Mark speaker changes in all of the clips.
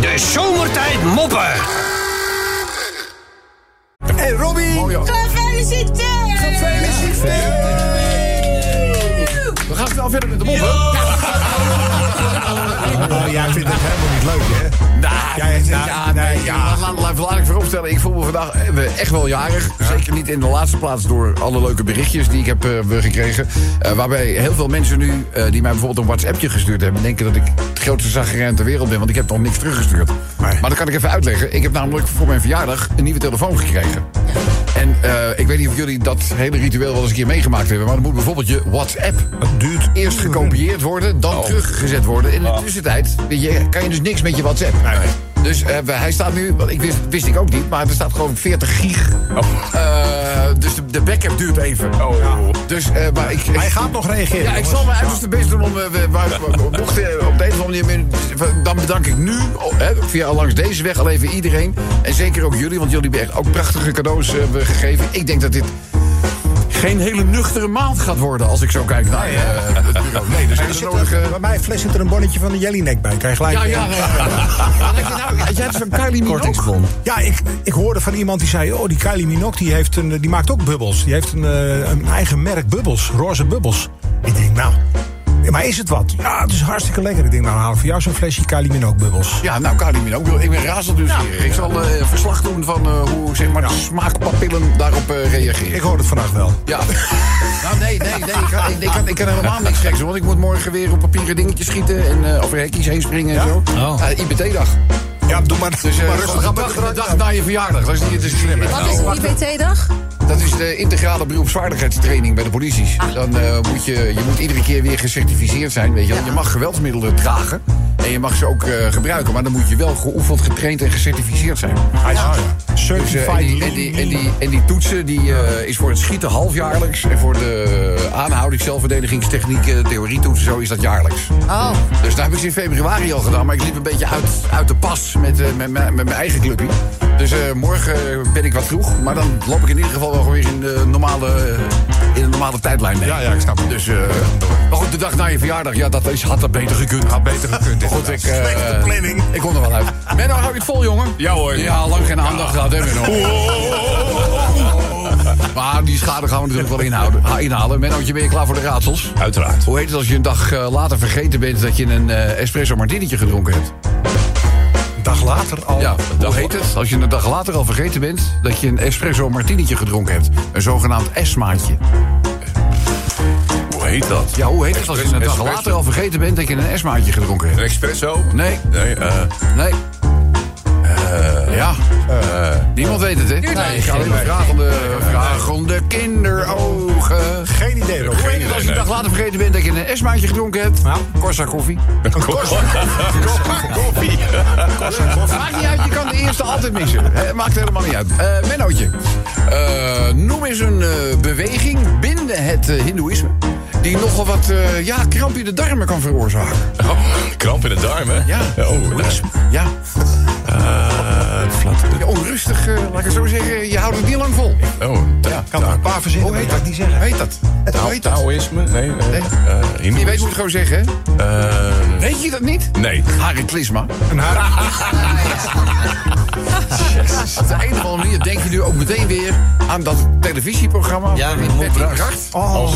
Speaker 1: De zomertijd moppen.
Speaker 2: Hey Robbie!
Speaker 3: Oh,
Speaker 4: Gefeliciteerd!
Speaker 3: We gaan snel verder met de moppen.
Speaker 2: Oh, jij vindt het helemaal niet leuk, hè?
Speaker 3: Nou,
Speaker 2: Ja, ja,
Speaker 3: ja,
Speaker 2: ja,
Speaker 3: nee,
Speaker 2: nee,
Speaker 3: ja. Laat, laat, laat ik vooropstellen, ik voel me vandaag eh, echt wel jarig. Zeker niet in de laatste plaats door alle leuke berichtjes die ik heb eh, gekregen. Eh, waarbij heel veel mensen nu, eh, die mij bijvoorbeeld een WhatsAppje gestuurd hebben... denken dat ik het grootste zagrijn ter wereld ben, want ik heb nog niks teruggestuurd. Maar dat kan ik even uitleggen. Ik heb namelijk voor mijn verjaardag een nieuwe telefoon gekregen. En eh, ik weet niet of jullie dat hele ritueel wel eens een keer meegemaakt hebben... maar dan moet bijvoorbeeld je WhatsApp
Speaker 2: Het duurt. Oh.
Speaker 3: eerst gekopieerd worden, dan teruggezet worden. In de tussentijd weet je, kan je dus niks met je WhatsApp. Dus eh, we- hij staat nu, want ik wist, wist ik ook niet, maar er staat gewoon 40 gig. Eh, dus de, de backup duurt even. Dus, eh, maar ik,
Speaker 2: Hij gaat nog reageren.
Speaker 3: ja, ik zal mijn uiterste best doen om... eh, we- waar- mocht je op deze manier... meer- Dan bedank ik nu, oh, hè, via langs deze weg, al even iedereen. En zeker ook jullie, want jullie hebben echt ook prachtige cadeaus eh, hebben gegeven. Ik denk dat dit geen hele nuchtere maand gaat worden... als ik zo kijk naar eh, het bureau. Nee, dus
Speaker 2: Er
Speaker 3: is
Speaker 2: zit
Speaker 3: nodig...
Speaker 2: er- Eh, Bij mij fles zit er een bonnetje van de jellyneck bij. Krijg gelijk.
Speaker 3: ja, ja, ja. Wat heb je nou? Jij hebt zo'n Kylie Minogue.
Speaker 2: Ja, ik, ik hoorde van iemand die zei... oh, die Kylie Minogue die heeft een, eh, die maakt ook bubbels. Die heeft een, eh, een eigen merk bubbels, roze bubbels. Ik denk, nou... Maar is het wat? Ja, het is hartstikke lekker. Ik denk, nou, haal ik voor jou zo'n flesje Kylie Minogue bubbels.
Speaker 3: Ja, nou, Kylie Minogue. Ik ben razend dus hier. Ik zal eh, verslag doen van eh, hoe zeg maar, de smaakpapillen daarop eh, reageren.
Speaker 2: Ik hoorde het vannacht wel.
Speaker 3: Ja. nou, nee, nee, nee. Ik kan, ik, ik kan, ik kan helemaal niks geks doen. Want ik moet morgen weer op papieren dingetjes schieten. En eh over hekjes heen springen en zo. Eh, IBT-dag.
Speaker 2: Ja, doe maar,
Speaker 3: Dus eh
Speaker 2: maar rustig
Speaker 3: gewoon
Speaker 2: aan
Speaker 3: de
Speaker 2: met
Speaker 3: dag,
Speaker 2: de
Speaker 3: de
Speaker 2: drank.
Speaker 3: dag na je verjaardag. Dat is niet Nou, te slim. hè?
Speaker 4: Wat is een IBT-dag?
Speaker 3: Dat is de integrale beroepsvaardigheidstraining bij de polities. Dan eh, moet je, je moet iedere keer weer gecertificeerd zijn. Weet je, wel. je mag geweldsmiddelen dragen. En je mag ze ook eh, gebruiken. Maar dan moet je wel geoefend, getraind en gecertificeerd zijn.
Speaker 2: Hij is hard.
Speaker 3: Dus, eh,
Speaker 2: Certified
Speaker 3: en, die, en, die, en, die, en die toetsen die, eh, is voor het schieten halfjaarlijks. En voor de eh, aanhouding, zelfverdedigingstechniek, eh, theorietoetsen, zo is dat jaarlijks.
Speaker 4: Oh,
Speaker 3: Dus dat heb ik ze in februari al gedaan. Maar ik liep een beetje uit, uit de pas met, eh, met, mijn- met mijn eigen clubje. Dus eh, morgen ben ik wat vroeg. Maar dan loop ik in ieder geval wel gewoon weer in de normale, eh, in de normale tijdlijn mee.
Speaker 2: Ja, ja, ik snap het.
Speaker 3: Dus, eh, maar goed, de dag na je verjaardag, ja, dat is, had dat beter gekund.
Speaker 2: Had beter gekund,
Speaker 3: Maar goed, ik,
Speaker 2: inderdaad.
Speaker 3: eh,
Speaker 2: Slechte planning.
Speaker 3: ik kom er wel uit. Menno, hou je het vol, jongen? Ja hoor. Ja, lang geen aandacht gehad, hè, Menno? Maar die schade gaan we natuurlijk wel inhouden, ha- inhalen. Mennootje, ben je klaar voor de raadsels?
Speaker 1: Uiteraard.
Speaker 3: Hoe heet het als je een dag eh, later vergeten bent dat je een eh, espresso martinietje gedronken hebt?
Speaker 2: Een dag later al.
Speaker 3: Ja, hoe heet het als je een dag later al vergeten bent dat je een espresso martinietje gedronken hebt? Een zogenaamd esmaatje.
Speaker 1: Hoe heet dat?
Speaker 3: Ja, hoe heet het als je een dag
Speaker 1: Espresso.
Speaker 3: later al vergeten bent dat je een esmaatje gedronken
Speaker 1: Een
Speaker 3: hebt?
Speaker 1: espresso?
Speaker 3: Nee,
Speaker 1: Nee, eh...
Speaker 3: nee. Eh, ja. Eh, Niemand weet het, hè? Nee, ik ga alleen maar vragende, vragende kinderogen.
Speaker 2: Geen idee, Rob.
Speaker 3: Hoe heet het als je een dag later vergeten bent dat je een esmaatje gedronken hebt?
Speaker 2: Ja.
Speaker 3: Corsa koffie.
Speaker 1: Koffie.
Speaker 3: Maakt niet uit, je kan de eerste altijd missen. Hè, Maakt helemaal niet uit. Eh Mennootje, Eh, noem eens een eh, beweging binnen het eh, hindoeïsme... die nogal wat eh, ja, kramp in de darmen kan veroorzaken.
Speaker 1: Oh, kramp in de darmen?
Speaker 3: Ja,
Speaker 1: Oh,
Speaker 3: Hindoeïsme. ja.
Speaker 1: eh, flat.
Speaker 3: Ja, onrustig, eh, laat ik het zo zeggen. Je houdt het niet lang vol.
Speaker 1: Oh, nou, ja.
Speaker 2: Kan er een paar verzinnen,
Speaker 3: Hoe
Speaker 2: maar
Speaker 3: heet
Speaker 2: ik
Speaker 3: dat?
Speaker 2: kan het niet zeggen.
Speaker 3: Hoe heet dat? Nou. Hoe heet dat?
Speaker 1: Taoïsme? Nee. eh,
Speaker 3: Nee.
Speaker 1: eh,
Speaker 3: Je
Speaker 1: Hindoeïsme.
Speaker 3: weet hoe het gewoon zeggen, hè?
Speaker 1: Eh,
Speaker 3: Weet je dat niet?
Speaker 1: Nee.
Speaker 3: Haritlisma.
Speaker 2: Een haar.
Speaker 3: Op de een of andere manier denk je nu ook meteen weer aan dat televisieprogramma.
Speaker 5: Ja,
Speaker 3: van
Speaker 5: met Mop
Speaker 3: Betty
Speaker 5: Bracht.
Speaker 3: Bracht.
Speaker 2: Oh,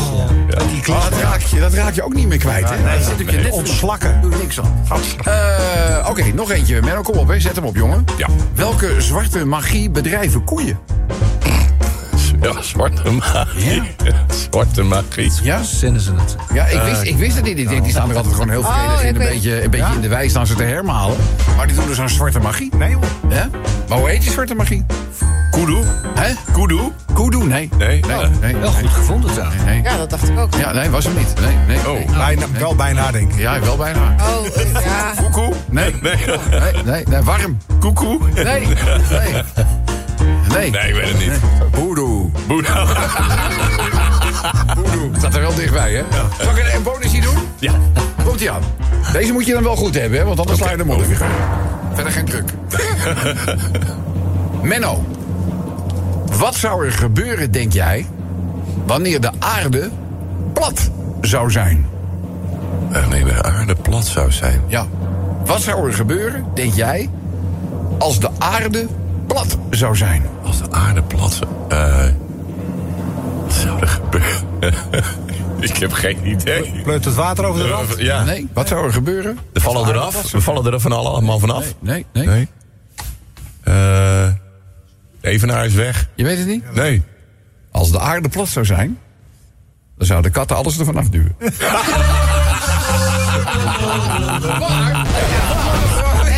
Speaker 1: Ja.
Speaker 3: Maar dat raak, je, dat raak je ook niet meer kwijt, hè? Nee, zit op je net
Speaker 2: ontslakken.
Speaker 3: Doe je niks aan. Eh, Oké, nog eentje. Menno, kom op, hè. Zet hem op, jongen.
Speaker 1: Ja.
Speaker 3: Welke zwarte magie bedrijven koeien?
Speaker 1: Ja, zwarte magie. Zwarte magie.
Speaker 3: Ja?
Speaker 5: zinnen ze het.
Speaker 3: Ja, ik wist, ik wist het niet. Ik denk, die staan er altijd gewoon heel
Speaker 4: Oh,
Speaker 3: vredig in.
Speaker 4: ik
Speaker 3: Een
Speaker 4: weet-
Speaker 3: beetje, een beetje in de wijk staan ze te hermalen. Maar die doen dus aan zwarte magie.
Speaker 2: Nee, hoor.
Speaker 3: Hè? Maar hoe heet die zwarte magie?
Speaker 1: Kudu?
Speaker 3: Hè?
Speaker 1: Kudu?
Speaker 3: Koedoe? Nee.
Speaker 1: Nee. eh,
Speaker 3: Nee.
Speaker 5: Wel goed gevonden trouwens.
Speaker 3: nee.
Speaker 4: ja, dat dacht ik ook.
Speaker 3: Ja, nee, was hem niet. Nee, nee.
Speaker 1: Oh.
Speaker 3: nee.
Speaker 2: Bijna, wel bijna, denk ik.
Speaker 3: Ja, wel bijna.
Speaker 4: Oh, eh, ja.
Speaker 1: Koekoe?
Speaker 3: Nee.
Speaker 1: Nee.
Speaker 3: Nee, nee, nee. Warm.
Speaker 1: Koekoe?
Speaker 3: Nee. Nee. Nee.
Speaker 1: Nee, ik weet het niet.
Speaker 3: Boedoe.
Speaker 1: Boeddha.
Speaker 3: Staat er wel dichtbij, hè? Zal ik een- een bonusje doen?
Speaker 1: Ja.
Speaker 3: Komt ie aan. Deze moet je dan wel goed hebben, hè? want anders sla je de mond weer. Verder geen druk. Menno. Wat zou er gebeuren, denk jij, wanneer de aarde plat zou zijn?
Speaker 1: Wanneer de Eh, aarde plat zou zijn.
Speaker 3: Ja. Wat zou er gebeuren, denk jij, als de aarde plat zou zijn?
Speaker 1: Als de aarde plat zou... eh, wat zou er gebeuren? ik heb geen idee.
Speaker 2: Pleut het water over de
Speaker 1: Eh,
Speaker 2: rand?
Speaker 1: Ja,
Speaker 3: Nee, wat zou er gebeuren?
Speaker 1: we vallen eraf. We vallen er van alle- allemaal vanaf.
Speaker 3: Nee, nee.
Speaker 1: Nee. Eh, Evenaar is weg.
Speaker 3: Je weet het niet?
Speaker 1: Nee.
Speaker 3: Als de aarde plat zou zijn, dan zouden katten alles ervan afduwen.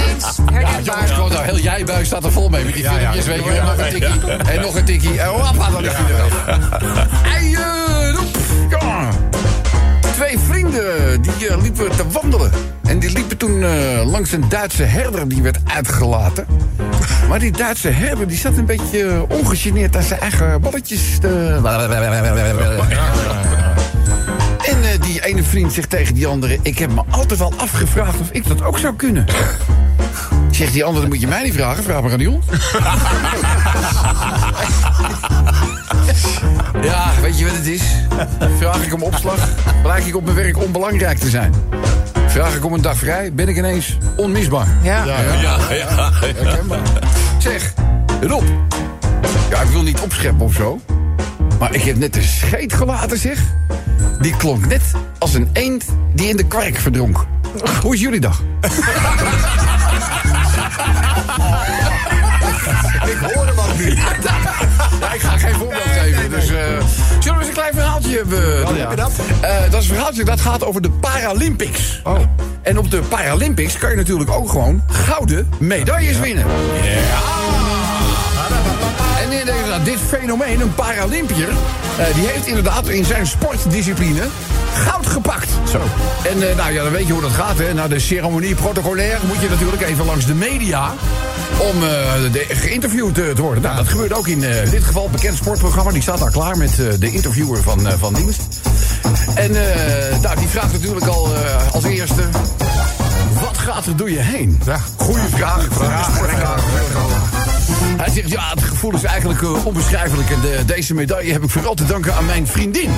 Speaker 4: Eens,
Speaker 3: Jongens,
Speaker 4: herkenbaar.
Speaker 3: gewoon nou, heel jij buis staat er vol mee met die filmpjes, weet je wel. Nog een tikkie, en nog een tikkie, Eh, oh, en wappa, dan ligt hij eraf. Ei, eh, doep, ja. Twee vrienden, die eh, liepen te wandelen. En die liepen toen eh, langs een Duitse herder, die werd uitgelaten. Maar die Duitse herder, die zat een beetje eh, ongegeneerd aan zijn eigen balletjes te... En eh, die ene vriend zegt tegen die andere: Ik heb me altijd al afgevraagd of ik dat ook zou kunnen. Zegt die andere: Moet je mij niet vragen, vraag maar aan die hond. ja, weet je wat het is? Vraag ik om opslag, blijk ik op mijn werk onbelangrijk te zijn. Vraag ik om een dag vrij, ben ik ineens onmisbaar.
Speaker 4: Ja.
Speaker 1: Ja, ja.
Speaker 3: Herkenbaar. Zeg, Rob. Ja, ik wil niet opscheppen of zo. Maar ik heb net een scheet gelaten, zeg. Die klonk net als een eend die in de kwark verdronk. Hoe is jullie dag? ik hoor hem ook niet. Ja, ik ga geen voorbeeld geven. Dus, eh, zullen we eens een klein verhaaltje hebben? doen?
Speaker 2: je Oh, dat?
Speaker 3: Eh, dat is een verhaaltje dat gaat over de Paralympics.
Speaker 2: Oh.
Speaker 3: En op de Paralympics kan je natuurlijk ook gewoon gouden medailles winnen. En dan denk je, nou, dit fenomeen, een Paralympier, eh, die heeft inderdaad in zijn sportdiscipline goud gepakt. Zo. En eh, nou ja, dan weet je hoe dat gaat, hè. Na de ceremonie protocolair moet je natuurlijk even langs de media om eh, de, geïnterviewd eh, te worden. Nou, dat gebeurt ook in eh, dit geval, bekend sportprogramma. Die staat daar klaar met eh, de interviewer van, eh, van dienst. En eh, nou, die vraagt natuurlijk al eh, als eerste... Wat gaat er door je heen?
Speaker 2: Ja.
Speaker 3: Goeie vraag. Goeie sportvraag. Hij zegt, ja, het gevoel is eigenlijk eh, onbeschrijfelijk. En de- deze medaille heb ik vooral te danken aan mijn vriendin.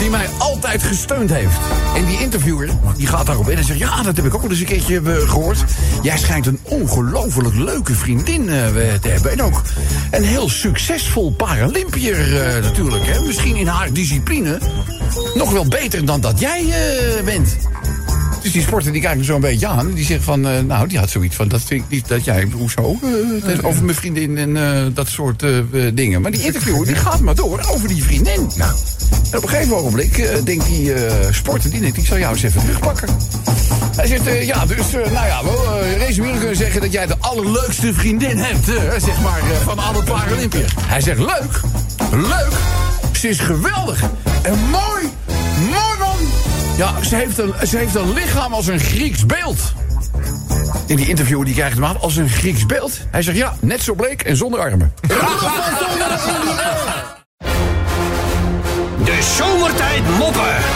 Speaker 3: Die mij altijd gesteund heeft. En die interviewer, die gaat daarop in en zegt... ja, dat heb ik ook wel eens een keertje eh, gehoord. Jij schijnt een ongelooflijk leuke vriendin eh, te hebben. En ook een heel succesvol Paralympier eh, natuurlijk. Hè? Misschien in haar discipline nog wel beter dan dat jij eh, bent. Dus die sporter die kijkt me zo een beetje aan. Die zegt van, eh, nou, die had zoiets van, dat vind ik niet dat jij, hoezo? eh, dat- over mijn vriendin en eh, dat soort eh, eh, dingen. Maar die interviewer die gaat maar door over die vriendin. Nou. En op een gegeven ogenblik eh, denkt die eh, sporter, die denkt, ik zal jou eens even terugpakken. Hij zegt, eh, ja, dus, eh, nou ja, wel, eh resumeren kunnen zeggen dat jij de allerleukste vriendin hebt, eh, zeg maar, eh, van alle Paralympiërs. Hij zegt, leuk, leuk, ze is geweldig en mooi, mooi man. Ja, ze heeft, een, ze heeft een lichaam als een Grieks beeld. In die interview die krijgt hem aan als een Grieks beeld. Hij zegt ja, net zo bleek en zonder armen.
Speaker 5: De zomertijd moppen.